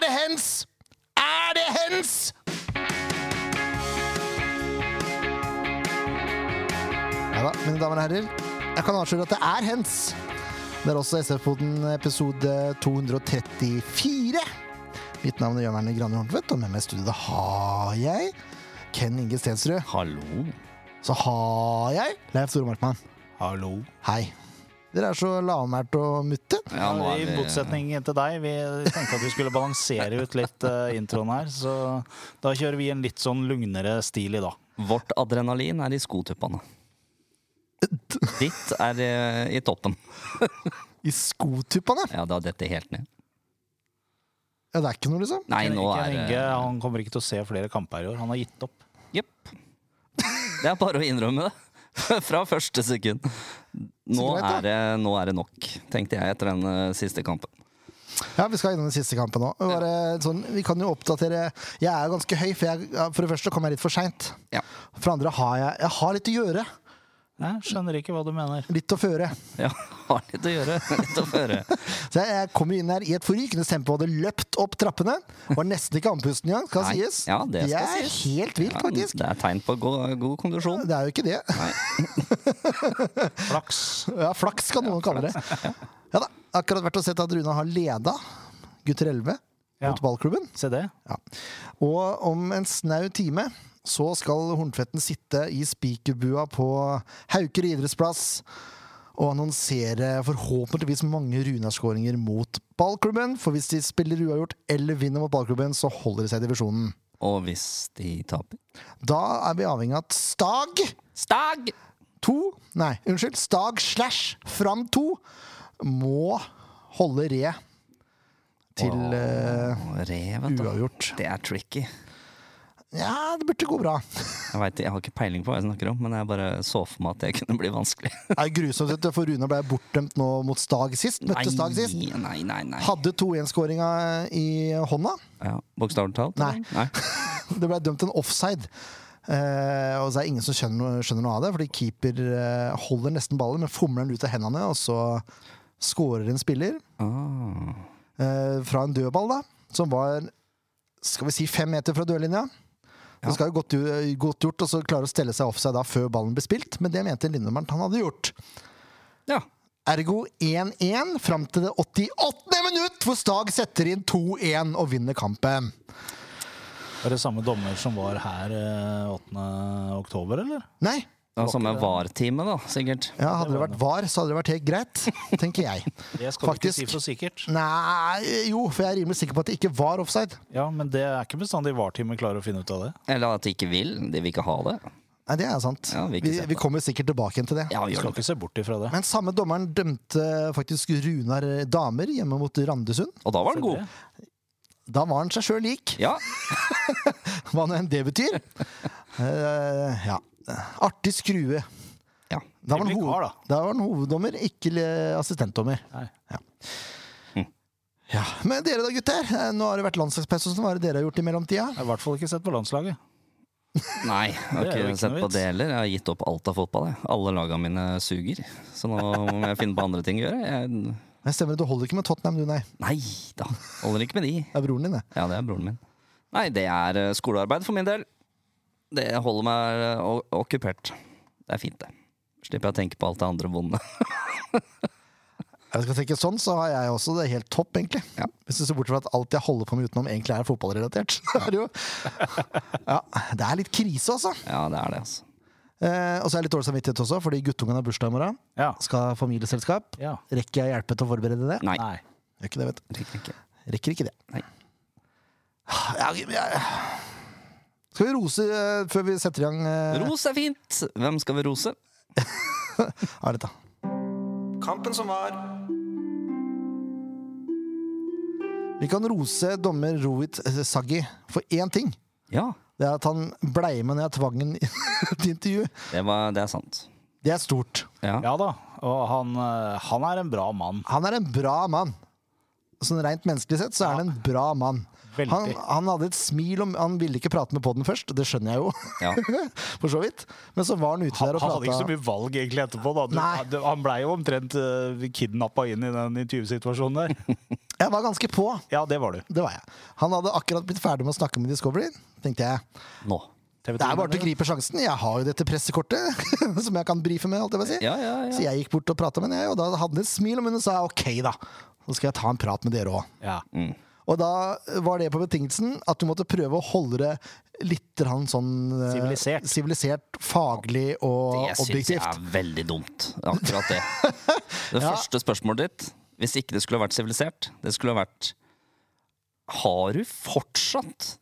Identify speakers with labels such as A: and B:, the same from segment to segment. A: det hens? Er det hens? Ja da, mine damer og herrer. Jeg kan avsløre at det er hens. Det er også SF-poden episode 234. Mitt navn er Jørn Erne Graner Horntvedt, og med meg i studio har jeg Ken Inge Stensrud.
B: Hallo.
A: Så har jeg Leif Store Markmann.
B: Hallo.
A: Hei. Dere er så lavmælt og mutte.
B: Ja, nå
C: I
B: er vi
C: motsetning til deg, vi tenkte at vi skulle balansere ut litt eh, introen her, så da kjører vi en litt sånn lugnere stil i dag.
B: Vårt adrenalin er i skotuppene. Ditt er eh, i toppen.
A: I skotuppene.
B: Ja, da detter jeg helt ned.
A: Ja, det er ikke noe, liksom.
B: Nei,
C: Ken
B: nå er
C: Inge,
B: det
C: han kommer ikke til å se flere kamper i år, han har gitt opp.
B: Jepp. Det er bare å innrømme det. Fra første sekund. Nå
A: Så greit, da.
B: er det, nå er det nok, tenkte jeg etter den eh, siste kampen.
A: Ja, Vi skal innom den siste kampen òg. Sånn, vi kan jo oppdatere Jeg er jo ganske høy, for, jeg, ja, for det første kom jeg litt for seint.
B: Ja.
A: For det andre har jeg, jeg har litt å gjøre.
C: Jeg skjønner ikke hva du mener.
A: Litt å føre.
B: ja. Har litt å gjøre. Litt å føre.
A: Så jeg, jeg kommer inn her i et forrykende tempo, hadde løpt opp trappene. Var nesten ikke andpusten engang, skal
B: Nei,
A: sies.
B: ja, det skal
A: er
B: sies.
A: helt vilt,
B: Ja,
A: faktisk.
B: det er tegn på god, god kondisjon.
A: Det er jo ikke det.
C: Flaks.
A: Ja, flaks skal noen kalle det. Ja da, akkurat vært og sett at Runa har leda gutter 11
C: Ja.
A: mot ballklubben.
C: Se det.
A: Ja. Og om en snau time så skal Horntvetten sitte i spikerbua på Hauker idrettsplass og annonsere forhåpentligvis mange Runar-skåringer mot ballklubben. For hvis de spiller uavgjort eller vinner mot ballklubben, så holder de seg i divisjonen.
B: Og hvis de taper
A: Da er vi avhengig av at Stag
B: Stag!
A: 2 Nei, unnskyld. Stag slash Fram 2 må holde re til eh,
B: Å, Rev, vet du.
A: uavgjort.
B: Det er tricky.
A: Ja, det burde gå bra.
B: Jeg, vet, jeg har ikke peiling på hva jeg snakker om, men jeg bare så for meg at det kunne bli vanskelig.
A: Det er grusomt, vet du, for Rune ble bortdømt nå mot Stag sist. Møtte Stag sist.
B: nei, nei. nei.
A: Hadde 2-1-skåringa i hånda.
B: Ja, Bokstavelig talt?
A: Nei.
B: eller? nei.
A: Det ble dømt en offside. Eh, og så er det ingen som skjønner noe, skjønner noe av det, fordi keeper eh, holder nesten ballen, men fomler den ut av hendene, og så skårer en spiller
B: Ah.
A: eh, fra en dødball, da, som var skal vi si fem meter fra dørlinja. Det skal jo godt, gjo- godt gjort å klare å stelle seg offside da før ballen ble spilt, men det mente Lindemann at han hadde gjort.
B: Ja.
A: Ergo 1-1 fram til det 88. minutt, hvor Stag setter inn 2-1 og vinner kampen.
C: Det er det samme dommer som var her eh, 8. oktober, eller?
A: Nei,
B: Det var samme VAR-time, da, sikkert.
A: ja, hadde det vært VAR, så hadde det vært helt greit, tenker jeg.
C: Det skal vi ikke
A: Faktisk.
C: si for sikkert.
A: Nei, jo, for jeg er rimelig sikker på at det ikke var offside.
C: Ja, men det er ikke bestandig VAR-teamet klarer å finne ut av det.
B: Eller at de ikke vil. De vil ikke ha det.
A: Nei, det er sant.
B: Ja, vi
A: vi,
B: ikke
A: vi,
B: ser på
A: kommer sikkert tilbake igjen til det.
B: Ja,
C: Vi
B: gjør
C: skal
B: det.
C: ikke se bort ifra det.
A: Men samme dommeren dømte faktisk Runar Damer hjemme mot Randesund.
B: Og da var den
C: Se
B: god.
C: det.
A: Da var han seg sjøl lik,
B: Ja.
A: hva nå enn det betyr. Eh, ja. Artig skrue.
B: ja.
A: Da var, han
C: Rimelig kar,
A: hoved, da var han hoveddommer, ikke le- assistentdommer.
C: Nei.
A: Ja.
B: Hm.
A: ja. Men dere da, gutter. Eh, Nå har det vært landslagspause. Hva er det dere har gjort i mellomtida?
C: Jeg har i hvert fall ikke sett på landslaget.
B: Nei, jeg har
C: Det er jo
B: ikke
C: ikke
B: sett
C: noe
B: på
C: vits.
B: det heller. Jeg har gitt opp alt av fotball. Jeg. Alle laga mine suger. Så nå må jeg finne på andre ting å gjøre. Jeg...
A: Jeg stemmer, Du holder ikke med Tottenham, du, nei.
B: Nei da. Holder ikke med de.
A: Det er broren din, det.
B: Ja, det er broren min. Nei, det er eh, skolearbeid for min del. Det holder meg eh, o- okkupert. Det er fint, det. Slipper jeg å tenke på alt det andre vonde.
A: Jeg skal tenke sånn, så har jeg også det helt topp, egentlig.
B: Ja.
A: Hvis du ser bort fra at alt jeg holder på med utenom, egentlig er fotballrelatert. så er det jo ja, Det er litt krise, altså.
B: Ja, det er det, altså.
A: Eh, og så er jeg litt dårlig samvittighet også, fordi guttungen har bursdag i morgen.
C: Ja.
A: Skal ha familieselskap.
C: ja.
A: Rekker jeg hjelpe til å forberede det?
B: Nei,
C: Nei.
A: Gjør ikke det, vet du.
B: rekker ikke.
A: Rekker ikke det. Ah,
B: Nei.
A: Ja, jeg... Skal vi rose eh, før vi setter i gang? eh,
B: Ros er fint! Hvem skal vi rose?
A: Ja, dette.
D: Kampen som var.
A: Vi kan rose dommer Rohit eh, Saggi for én ting.
B: Ja,
A: Det er at han blei med når jeg tvang ham til intervju.
B: det, var, det er sant.
A: Det er stort.
B: Ja.
C: Ja da. Og han, eh, han er en bra mann.
A: Han er en bra mann. Sånn rent menneskelig sett så er han en bra mann.
C: Veldig.
A: Han, han hadde et smil om Han ville ikke prate med podden først, det skjønner jeg jo,
B: ja.
A: for så vidt. Men så var han ute
C: Han,
A: der og
C: hadde ikke så
A: prata.
C: mye valg egentlig etterpå. da. Du,
A: Nei.
C: eh, du, han blei jo omtrent uh, kidnappa inn i den i 20-situasjonen der.
A: Jeg var ganske på.
C: Ja, det var du.
A: Det var jeg. Han hadde akkurat blitt ferdig med å snakke med Discovery. Tenkte jeg,
B: Nå.
A: Det er bare til å gripe sjansen. Jeg har jo dette pressekortet som jeg kan brife med. alt jeg vil si.
B: Ja, ja,
A: Så
B: ja.
A: jeg gikk bort og prata med henne, jeg, og da hadde hun et smil om henne og sa ok, da. Så skal jeg ta en prat med dere òg.
C: Ja.
A: Og da var det på betingelsen at du måtte prøve å holde det litt grann sånn eh,
C: Sivilisert.
A: sivilisert, faglig og
B: Det syns jeg
A: objektivt.
B: er veldig dumt. Akkurat det. Det første spørsmålet ditt, hvis ikke det skulle ha vært sivilisert, det skulle ha vært Har du fortsatt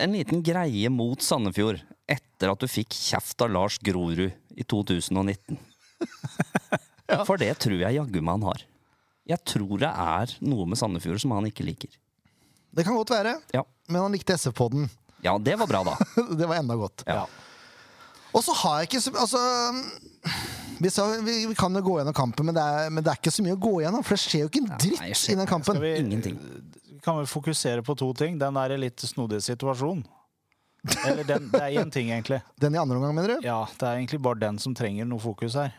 B: en liten greie mot Sandefjord etter at du fikk kjeft av Lars Grorud i 2019? For det tror jeg jaggu meg han har. Jeg tror det er noe med Sandefjord som han ikke liker.
A: Det kan godt være,
B: Ja,
A: men han likte SF-poden.
B: ja det var bra, da.
A: det var enda godt.
B: Ja.
A: Og så har jeg ikke så Altså vi, sa, vi, vi kan jo gå gjennom kampen, men det, er, men det er ikke så mye å gå gjennom. For det skjer jo ikke en dritt
B: nei,
A: i den kampen.
C: Skal vi,
B: Ingenting.
C: Kan vi fokusere på to ting? Den der litt snodige situasjonen. Eller den, det er én ting, egentlig.
A: Den i andre omgang, mener du?
C: Ja, Det er egentlig bare den som trenger noe fokus her.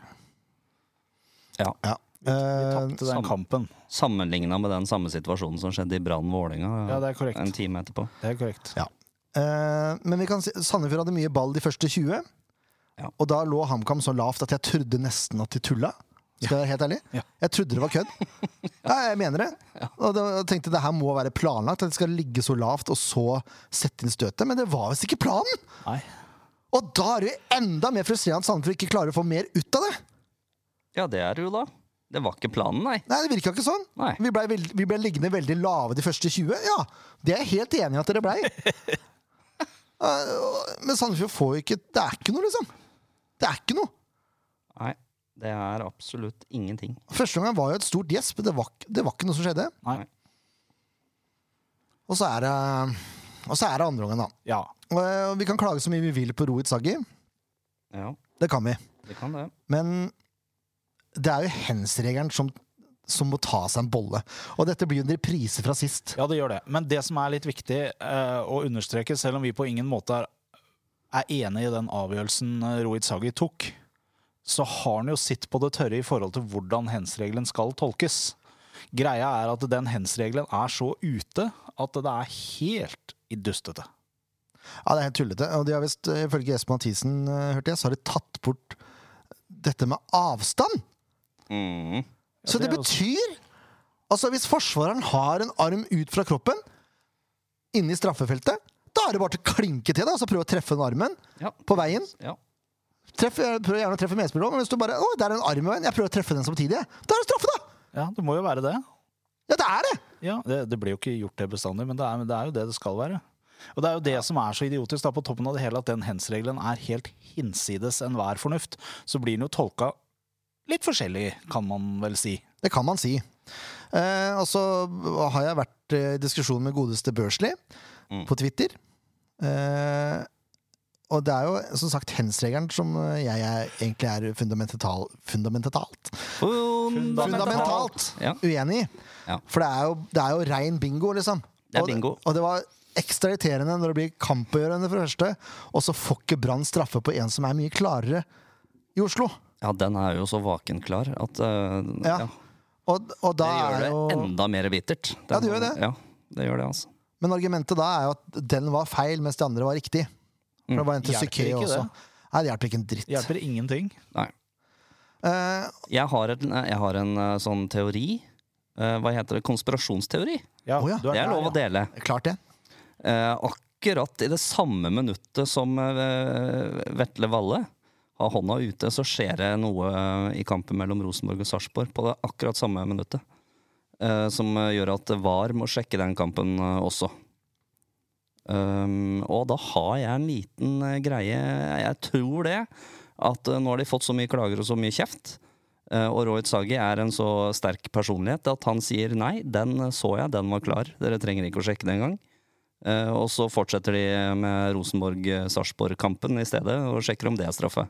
B: Ja.
A: Ja.
C: Vi
A: Eh,
C: tapte den
B: samme.
C: kampen.
B: Sammenligna med den samme situasjonen som skjedde i Brann
C: Ja,
B: Vålerenga
C: det er
B: en
C: korrekt.
B: time etterpå.
C: Det er korrekt.
A: eh, men vi kan si Sandefjord hadde mye ball de første 20,
B: Ja.
A: og da lå HamKam så lavt at jeg trodde nesten at de tulla. Skal jeg være helt ærlig?
C: Ja.
A: Jeg trodde det var kødd. Ja, jeg mener det. Og da jeg tenkte det her må være planlagt, at de skal ligge så lavt og så sette inn støtet. Men det var visst ikke planen!
C: Nei.
A: Og da er det jo enda mer frustrerende at Sandefjord ikke klarer å få mer ut av det.
B: Ja, det er det jo da. Det var ikke planen, nei.
A: Nei, det virka ikke sånn.
B: Nei.
A: Vi ble, veld- vi ble liggende veldig lave de første 20. Ja, det er jeg helt enig i at dere blei. Eh, og- Men Sandefjord får jo ikke Det er ikke noe, liksom. Det er ikke noe.
B: nei. Det er absolutt ingenting.
A: Første omgang var jo et stort gjesp. Det var, ikke- det var ikke noe som skjedde.
C: Nei.
A: Og så er det Og så er det andre omgang, da.
C: Ja.
A: Og, eh, Og vi kan klage så mye vi vil på Rohit Saggi.
B: Ja,
A: Det kan vi.
B: det kan det.
A: Men det er jo hens-regelen som, som må ta seg en bolle. Og dette blir jo en reprise fra sist.
C: ja, det gjør det. Men det som er litt viktig eh, å understreke, selv om vi på ingen måte er, er enig i den avgjørelsen eh, Rohit Sagi tok, så har han jo sitt på det tørre i forhold til hvordan hens-regelen skal tolkes. Greia er at den hens-regelen er så ute at det er helt i dustete.
A: Ja, det er helt tullete. Og de har visst, eh, ifølge Espen Mathisen, eh, hørte jeg, så har de tatt bort dette med avstand.
B: Mm.
A: Så
C: det
A: det,
C: er også-
A: betyr Altså, hvis forsvareren har en arm ut fra kroppen inne i straffefeltet, da er det bare til å klinke til, da, altså prøve å treffe den armen
B: Ja.
A: på veien.
B: ja.
A: Treff, jeg prøver gjerne å treffe medspilleren også, men hvis du bare Å, der er en arm i veien, jeg prøver å treffe den samtidig, jeg. Da er det straffe, da!
C: Ja, det må jo være det.
A: Ja, det er det!
C: Ja, det, det blir jo ikke gjort det bestandig, men det er, det er jo det det skal være. Og det er jo det som er så idiotisk da, på toppen av det hele, at den hens-regelen er helt hinsides enhver fornuft. Så blir den jo tolka litt forskjellig, kan man vel si.
A: Det kan man si. Eh, og så har jeg vært eh, i diskusjon med godeste Børsli
B: Mm.
A: på Twitter. Eh, og det er jo som sagt hens-regelen som eh, jeg er, egentlig er fundamental, fundamentalt
B: Fundamentalt.
A: Fundamentalt
B: Ja.
A: uenig i.
B: Ja.
A: For det er, jo, det er jo rein bingo, liksom.
B: Det er
A: Og
B: bingo.
A: Og det var ekstra irriterende når det blir kampgjørende for det første, og så får ikke Brann straffe på en som er mye klarere i Oslo.
B: Ja, den er jo så vakenklar at eh, ja.
A: Ja. Og, og da
B: Det gjør
A: er
B: det
A: jo
B: enda mer bittert. Den,
A: Ja, det gjør det.
B: Ja, det gjør det, altså.
A: Men argumentet da er jo at den var feil, mens de andre var riktig. For
B: Mm.
A: det var en til
C: Hjelper
A: Psyké
C: ikke det.
A: også. Nei, det hjelper ikke en dritt.
C: Hjelper ingenting.
B: Nei.
A: Eh,
B: Jeg har, et, jeg har en eh, sånn teori. Eh, hva heter det? Konspirasjonsteori.
C: Ja,
A: Å ja,
C: du
B: Det er
C: der,
B: lov
C: ja.
B: å dele.
A: klart det.
B: Eh, akkurat i det samme minuttet som eh, Vetle Valle har hånda ute, så skjer det noe eh, i kampen mellom Rosenborg og Sarpsborg på det akkurat samme minuttet. Eh, som eh, gjør at VAR må sjekke den kampen eh, også. Um, og da har jeg en liten eh, greie Jeg tror det. At eh, nå har de fått så mye klager og så mye kjeft. eh, og Rohit Sagi er en så sterk personlighet at han sier nei, den eh, så jeg, den var klar. Dere trenger ikke å sjekke det engang. Eh, og så fortsetter de med Rosenborg-Sarpsborg-kampen i stedet, og sjekker om det er straffe.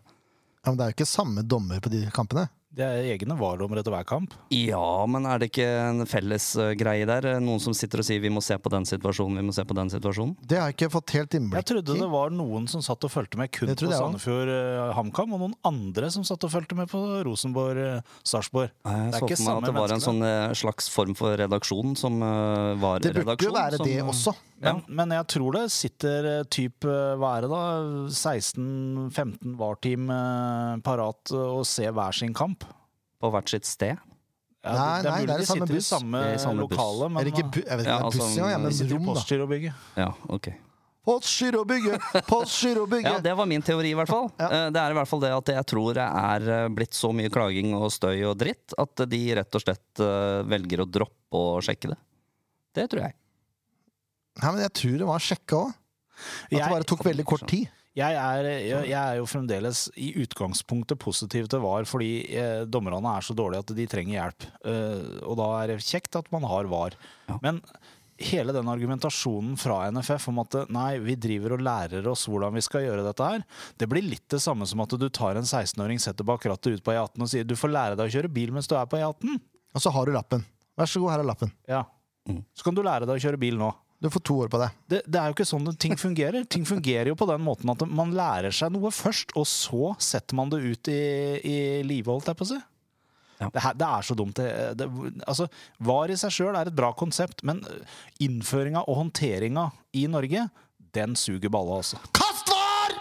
A: Ja, men det er jo ikke samme dommer på de kampene.
C: Det er egne varelommer etter hver kamp.
B: Ja, men er det ikke en felles eh, greie der? Noen som sitter og sier 'vi må se på den situasjonen', 'vi må se på den situasjonen'?
A: Det har jeg ikke fått helt innblikk
C: Jeg trodde det var noen som satt og fulgte med kun
A: Det
C: på
A: trodde jeg også.
C: Sandefjord eh, HamKam, og noen andre som satt og fulgte med på Rosenborg eh, Sarpsborg.
B: Nei,
C: Det
B: Jeg
C: er
B: så
C: ikke
B: for meg
C: samme
B: at det var en
C: menneskene.
B: sånn eh, slags form for redaksjon som eh, var
A: Det burde jo
B: redaksjon.
A: være
B: som,
A: det også.
B: Ja.
C: Men, men jeg tror det sitter eh, typ, eh, hva er det da, 16-15 VAR-team eh, parat eh, og ser hver sin kamp.
B: På hvert sitt sted.
C: Ja,
A: Nei, nei,
C: mulig
A: det er
C: de
A: i samme
C: sitter
A: buss.
C: I samme,
B: Det er i samme buss.
C: lokale, men
A: Er det ikke bu jeg vet ikke,
B: Ja,
A: om det er buss,
B: altså,
A: ja, ja,
C: de
A: men
C: sitter i
A: rom, da.
C: postgirobygget.
B: Ja, ok.
A: Postgirobygget! Postgirobygget!
B: Ja, det var min teori, i hvert fall. Eh, Det er i hvert fall det at jeg tror det er eh, blitt så mye klaging og støy og dritt at de rett og slett eh, velger å droppe å sjekke det. Det tror jeg.
A: Nei, men jeg tror det var sjekka òg. At det
C: Jeg-
A: bare tok veldig kort tid.
C: Jeg er, jeg, jeg er jo fremdeles i utgangspunktet positiv til VAR, fordi eh, dommerne er så dårlige at de trenger hjelp. Eh, og da er det kjekt at man har VAR.
B: Ja.
C: Men hele den argumentasjonen fra NFF om at eh, nei, vi driver og lærer oss hvordan vi skal gjøre dette her, det blir litt det samme som at du tar en 16-åring, setter bak rattet ut på E18 og sier du får lære deg å kjøre bil mens du er på E18.
A: Og så har du lappen. Vær så god, her er lappen.
C: Ja.
B: Mm.
C: Så kan du lære deg å kjøre bil nå.
A: Du får to år på deg.
C: det, det er jo ikke sånn det- ting fungerer. Ting fungerer jo på den måten at man lærer seg noe først, og så setter man det ut i, i livet, holdt jeg på å si.
B: Ja.
C: Det, her, det er så dumt. Det, det, altså, VAR i seg sjøl er et bra konsept, men innføringa og håndteringa i Norge, den suger balla, altså.
A: Kast var!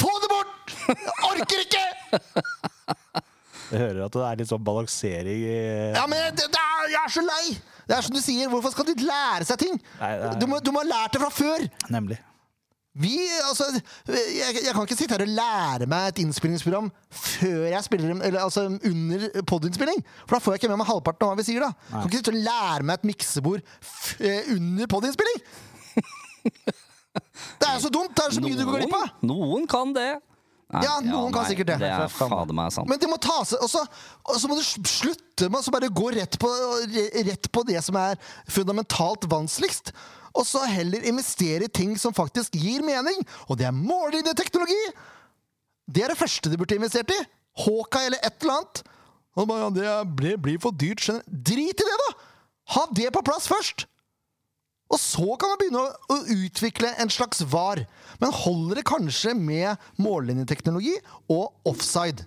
A: Få det bort! Jeg orker ikke!
C: Jeg hører at det er litt sånn balansering i eh,
A: Ja, men det, det er, jeg er så lei! Det er som du sier, hvorfor skal de lære seg ting?
C: Nei, det er-
A: Du, må, du må ha lært det fra før!
C: Nemlig.
A: Vi, altså, jeg, jeg kan ikke sitte her og lære meg et innspillingsprogram før jeg spiller dem, eller altså under podinnspilling. For da får jeg ikke med meg halvparten av hva vi sier, da. Jeg kan ikke sitte og lære meg et miksebord f eh, under podinnspilling! Det er jo så dumt! Det er så mye du går glipp av!
B: noen kan det. Nei,
A: Ja, noen kan sikkert det.
B: Det er
A: FF kan det.
B: fader meg sant.
A: Men det må tas og så, og så må du s- slutte med å så bare gå rett på, rett på det som er fundamentalt vanskeligst. Og så heller investere i ting som faktisk gir mening. Og det er mållinjeteknologi! Det er det første de burde investert i. Hawkeye eller et eller annet. Og bare, ja, det er- blir, blir for dyrt. skjønner jeg. Drit i det, da! Ha det på plass først! Og så kan man begynne å, å utvikle en slags var. Men holder det kanskje med mållinjeteknologi og offside?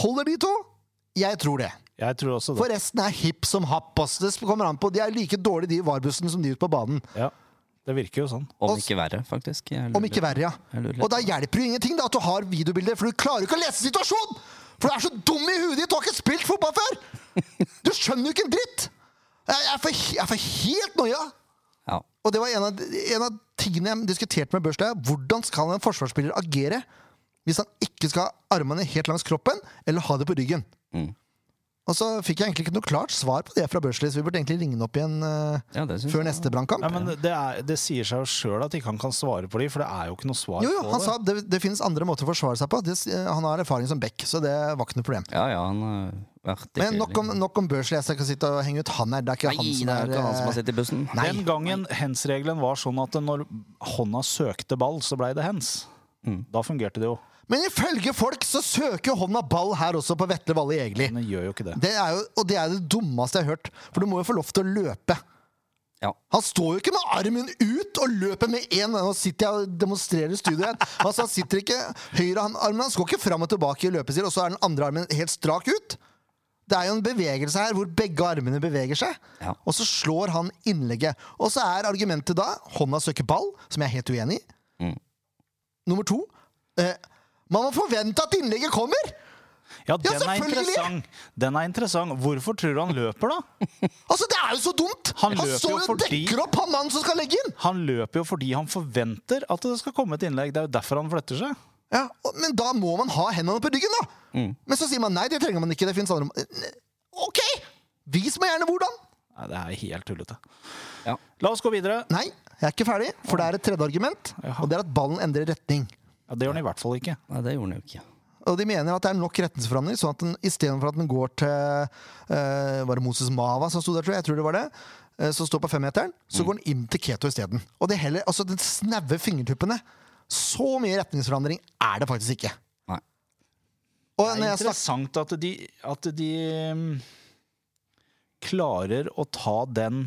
A: Holder de to? Jeg tror det.
C: Jeg tror også det.
A: For resten er hipp som happ. ass. Det kommer an på. De er like dårlige, de i varbussen, som de ute på banen.
C: Ja, det virker jo sånn.
B: Om ikke verre, faktisk. Jeg
A: Om
B: lurer
A: ikke
B: litt.
A: verre, ja.
B: Jeg lurer litt.
A: Og da hjelper det jo ingenting da, at du har videobilder, for du klarer jo ikke å lese situasjonen! For du er så dum i huet ditt, du har ikke spilt fotball før! Du skjønner jo ikke en dritt! Jeg jeg er for, jeg er for helt noia.
B: Ja.
A: Og det var en av, en av tingene jeg diskuterte med Børstad. Hvordan skal en forsvarsspiller agere hvis han ikke skal ha armene helt langs kroppen, eller ha det på ryggen?
B: Mm.
A: Og så fikk jeg egentlig ikke noe klart svar på det fra Børsli, så vi burde egentlig ringe han opp igjen eh,
B: ja, det syns
A: før
B: jeg.
A: neste brannkamp.
C: Ja, men det, er, det sier seg jo sjøl at ikke han kan svare på de, for det er jo ikke noe svar
A: jo, jo,
C: på
A: han
C: det.
A: sa det, det finnes andre måter å forsvare seg på. Det, s- han har erfaring som back, så det var ikke noe problem.
B: Ja, ja, han har vært i
A: Men nok om, nok om Børsli. Jeg skal ikke sitte og henge ut han her. Det er ikke
B: Nei,
A: han som
B: det er
A: er
B: ikke han som
A: eh,
B: har sittet i bussen.
A: Nei.
C: Den gangen hands-regelen var sånn at når hånda søkte ball, så blei det hands.
A: Mm.
C: Da fungerte det jo.
A: Men ifølge folk så søker jo hånda ball her også på Vetle Valle Egeli.
C: Men det gjør jo ikke det.
A: Det er jo, og det er det dummeste jeg har hørt, for du må jo få lov til å løpe.
B: Ja.
A: Han står jo ikke med armen ut og løper med én Nå sitter jeg og demonstrerer i studio her. Altså, han sitter ikke høyre han- armen hans går ikke fram og tilbake i løpestil, og så er den andre armen helt strak ut. Det er jo en bevegelse her hvor begge armene beveger seg,
B: Ja.
A: og så slår han innlegget. Og så er argumentet da hånda søker ball, som jeg er helt uenig i. Nummer to eh, man må forvente at innlegget kommer!
C: Ja, den er
A: selvfølgelig!
C: interessant. Den er interessant. Hvorfor tror du han løper, da?
A: Altså, Det er jo så dumt!
C: Han
A: Han,
C: løper
A: står
C: jo
A: jo og
C: fordi-
A: dekker opp han mannen som skal legge inn!
C: Han løper jo fordi han forventer at det skal komme et innlegg. Det er jo derfor han flytter seg.
A: Ja, og, Men da må man ha hendene på ryggen, da!
C: Mm.
A: Men så sier man nei, det trenger man ikke. det finnes andre... må-" OK! Vis meg gjerne hvordan!
C: Nei, det er helt tullete.
B: Ja.
C: La oss gå videre.
A: Nei, jeg er ikke ferdig, for det er et tredje argument. Og det er at ballen endrer retning.
C: Ja, det gjør han i hvert fall ikke.
B: Nei, det gjorde han jo ikke.
A: Og de mener at det er nok retningsforandring, sånn at den istedenfor at den går til eh, Var det Moses Mava som sto der, tror jeg? jeg tror det var det, eh, Som står på femmeteren.
C: Mm.
A: Så går den inn til Keto isteden. Og det heller, altså den snaue fingertuppene. Så mye retningsforandring er det faktisk ikke.
B: Nei.
A: Og
C: Det
A: når
C: er
A: jeg snakker
C: interessant at de, at de mm, klarer å ta den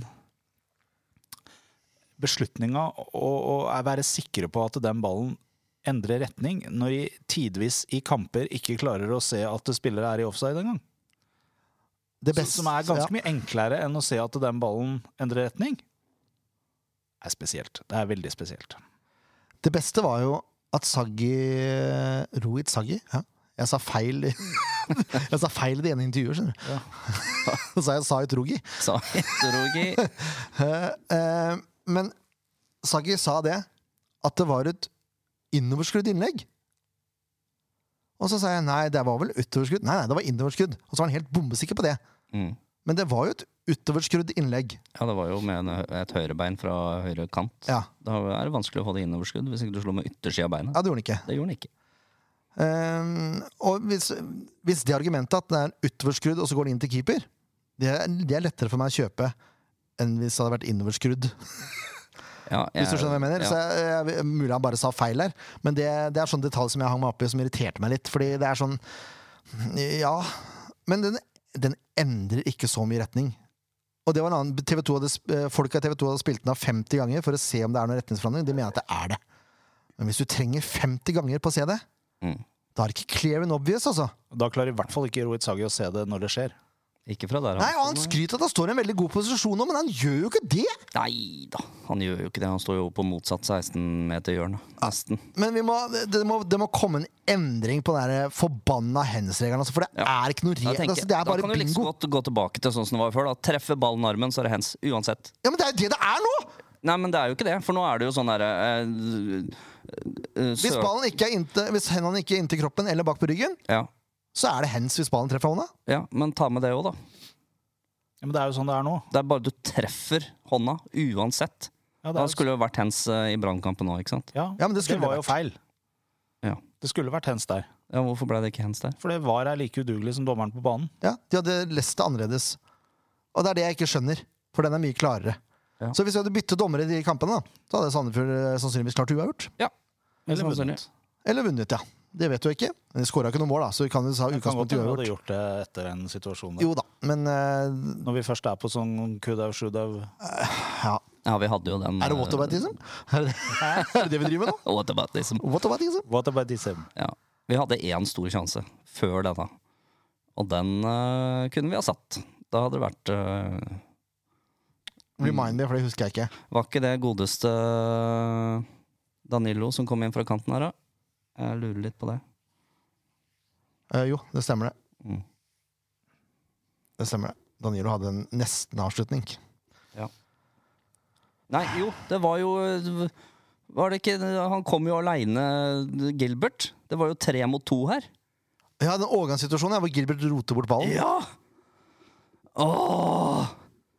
C: beslutninga og, og er- være sikre på at den ballen endrer retning, når de tidvis i kamper ikke klarer å se at spillere er i offside engang.
A: det
C: Så-
A: beste
C: Som er ganske
A: ja.
C: mye enklere enn å se at den ballen endrer retning. Det er spesielt. Det er veldig spesielt.
A: Det beste var jo at Saggi Rohit Saggi ja. Jeg sa feil i- Jeg sa feil i det ene intervjuet, skjønner du. Så jeg sa Utrogi.
B: Sa Hitrogi.
A: Eh, men Saggi sa det, at det var et innoverskrudd innlegg. Og så sa jeg nei, det var vel utoverskrudd. Nei, nei, det var innoverskrudd. Og så var han helt bombesikker på det.
B: Mm.
A: Men det var jo et utoverskrudd innlegg.
B: Ja, det var jo med en, et høyrebein fra høyre kant.
A: Ja,
B: Da er det vanskelig å få det innoverskudd hvis ikke du slår med yttersida av beina.
A: ja det gjorde han ikke.
B: Det gjorde han ikke.
A: Eh, og hvis, hvis det argumentet at det er en utoverskrudd, og så går den inn til keeper, det er, det er lettere for meg å kjøpe enn hvis det hadde vært innoverskrudd.
B: Ja, jeg-
A: Hvis du skjønner hva jeg mener. Så jeg, jeg, mulig han bare sa feil her, men det, det er sånn detalj som jeg hang meg opp i, som irriterte meg litt. Fordi det er sånn Ja. Men den, den endrer ikke så mye retning. Og det var en annen TV 2 hadde, sp- eh, Folk av TV 2 hadde spilt den av 50 ganger for å se om det er noen retningsforandring. De mener at det er det. Men hvis du trenger 50 ganger på å se det,
B: Mm.
A: da er det ikke clear and obvious, altså.
C: Da klarer i hvert fall ikke Rohit Sagi å se det når det skjer.
B: Ikke fra der.
A: Nei, og Han skryter at han står i en veldig god posisjon nå, men han gjør jo ikke det!
B: Nei da, han gjør jo ikke det. Han står jo på motsatt 16-meterhjørne. Nesten.
A: Men vi må, det, må, det må komme en endring på den der forbanna hands-regelen. Altså, for det
B: Ja.
A: er ikke noe
B: Da
A: regel.
B: tenker
A: Altså,
B: jeg,
A: det er
B: da
A: bare
B: kan du liksom
A: bingo.
B: godt gå tilbake til sånn som det var før. da Treffe ballen med armen, så er det hands. Uansett.
A: Ja, Men det er jo det det er nå!
B: Nei, men det er jo ikke det, for nå er det jo sånn derre eh, eh,
A: Hvis,
B: sø-
A: ballen ikke er inntil, hvis hendene ikke er inntil kroppen eller bak på ryggen,
B: ja,
A: så er det hands hvis ballen treffer hånda.
B: ja, men ta med det òg, da.
C: Ja, men det er jo sånn det er nå.
B: Det er bare du treffer hånda uansett.
C: Ja, det
B: Da
C: er jo
B: skulle det jo vært hands eh, i Brannkampen òg, ikke sant?
C: Ja,
A: Ja, men det skulle
C: var
A: det
C: jo feil.
B: Ja.
C: Det skulle vært hands der.
B: Ja, Hvorfor ble det ikke hands der?
C: For det var er like udugelig som dommeren på banen.
A: Ja, De hadde lest det annerledes. Og det er det jeg ikke skjønner, for den er mye klarere.
B: Ja.
A: Så hvis vi hadde byttet dommere i de kampene, da, så hadde Sandefjord eh, sannsynligvis klart uavgjort.
C: Eller
B: Sannsynlig.
C: vunnet.
A: Eller vunnet, ja. Det vet du ikke. Men de skåra ikke noe mål, da, så vi kan jo ha
C: Jeg kan
A: utgangspunkt
C: godt
A: i
C: hende vi hadde
A: uavgjort.
C: gjort det etter en situasjon der.
A: Jo da, men eh,
C: Når vi først er på sånn kudau sjudau
A: ja.
B: Ja, vi hadde jo den
A: Er det
B: eh,
A: whataboutism? Er det er det det vi driver med nå?
B: whataboutism?
A: Whataboutism?
C: What about this? Em?
B: Ja. Vi hadde én stor sjanse før denne, og den eh, kunne vi ha satt. Da hadde det vært eh,
A: Remind me, for det husker jeg ikke.
B: Var ikke det godeste eh, Danilo som kom inn fra kanten her, da? Jeg lurer litt på det.
A: Eh, jo, det stemmer det.
B: Mm.
A: Det stemmer det. Danilo hadde en nesten-avslutning.
B: Nei, jo, det var jo Var det ikke Han kom jo aleine, Gilbert. Det var jo tre mot to her.
A: Ja, den overgangssituasjonen ja, hvor Gilbert roter bort ballen.
B: Ja! Åh!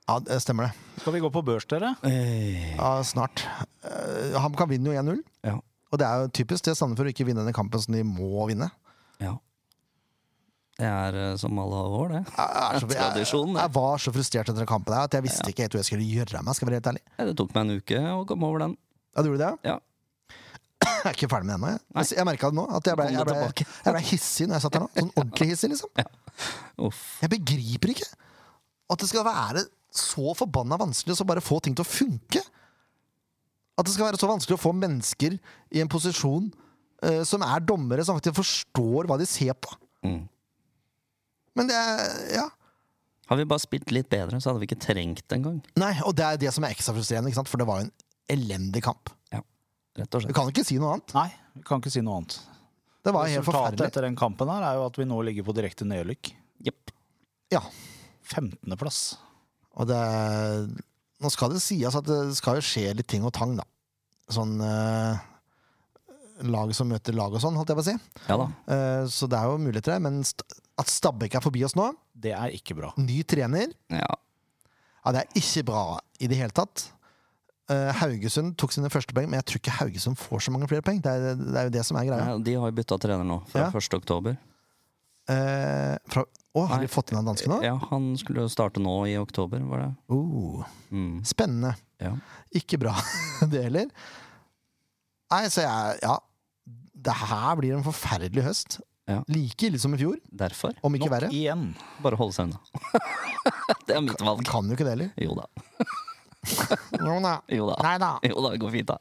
A: Ja, det stemmer det.
C: Skal vi gå på børs, dere?
B: Eh,
A: Ja, snart. Eh, han kan vinne jo 1-0.
B: Ja.
A: Og det er jo typisk til Sandefjord å ikke vinne denne kampen som de må vinne.
B: ja. Det er eh, som alle år, det.
A: Jeg, er så, jeg,
B: Tradisjon, det.
A: jeg var så frustrert etter den kampen her, at jeg visste ikke helt hva jeg skulle gjøre av meg. Skal jeg være helt ærlig.
B: Ja, Det tok meg en uke å komme over den.
A: Ja, du gjorde det?
B: Ja.
A: Jeg er ikke ferdig med det ennå. Jeg,
B: Nei.
A: jeg, jeg merka det nå. At jeg ble,
B: Kom
A: jeg,
B: det
A: ble,
B: tilbake.
A: jeg ble hissig når jeg satt der nå. Sånn ordentlig hissig, liksom.
B: Uff.
A: Jeg begriper ikke at det skal være så forbanna vanskelig å så bare få ting til å funke. At det skal være så vanskelig å få mennesker i en posisjon eh, som er dommere, som faktisk forstår hva de ser på.
B: Mm.
A: Men det er Ja.
B: Har vi bare spilt litt bedre, så hadde vi ikke trengt det engang.
A: Nei, og det er det som er ekstra frustrerende, ikke sant? for det var jo en elendig kamp.
B: Rett og
A: Du
B: slett.
A: kan ikke si noe annet.
C: Nei, vi kan ikke si noe annet.
A: Det var helt
C: Resultatet
A: forferdelig.
C: etter den kampen her er jo at vi nå ligger på direkte nedrykk.
B: Jepp.
C: 15. plass.
A: Og det er, nå skal det sies at det skal jo skje litt ting og tang, da. Sånn eh, lag som møter lag og sånn, holdt jeg på å si.
B: Ja da.
A: Eh, så det er jo muligheter der. Men st at Stabæk er forbi oss nå,
C: Det er ikke bra.
A: ny trener,
B: Ja.
A: ja, det er ikke bra i det hele tatt. Eh, Haugesund tok sine første poeng, men jeg tror ikke Haugesund får så mange flere poeng. Det er, det er jo det som er greia.
B: Nei, de har jo bytta trener nå,
A: Ja.
B: fra 1. oktober.
A: Eh, fra, å, har
B: Nei.
A: de fått inn han danske nå?
B: Ja, han skulle jo starte nå i oktober, var det?
A: Oh,
B: Mm.
A: spennende.
B: Ja.
A: Ikke bra, det heller. Nei, så jeg Ja. Det her blir en forferdelig høst.
B: Ja.
A: Like ille som i fjor,
B: Derfor
A: om ikke
C: Nok
A: verre.
C: igjen.
B: bare holde seg unna. det er mitt valg.
A: Kan jo ikke det heller.
B: Jo da.
A: Jo da.
B: Jo da.
A: Nei da.
B: Jo da, det går fint, da.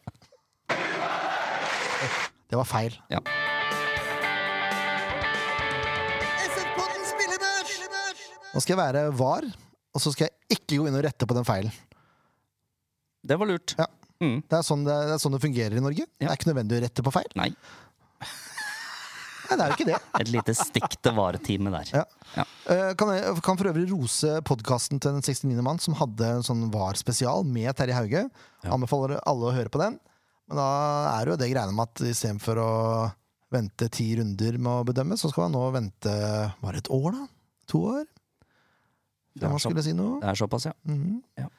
A: Det var feil.
B: Ja.
A: Nå skal jeg være var, og så skal jeg ikke gå inn og rette på den feilen.
B: Det var lurt.
A: Ja.
B: Mm.
A: Det er sånn det, det, er sånn det fungerer i Norge. Det er ikke nødvendig å rette på feil.
B: Nei.
A: Nei, det er jo ikke det.
B: Et lite stikk til varetime der.
A: Ja. Eh, Kan, jeg, kan for øvrig rose podkasten til Den 69. mann, som hadde en sånn VAR-spesial med Terje Hauge. Anbefaler alle å høre på den. Men da er det jo det greiene med at istedenfor å vente ti runder med å bedømme, så skal man nå vente Var det et år, da? To år?
B: Ja,
A: Da man
B: så-
A: skulle si noe.
B: Det er såpass, ja.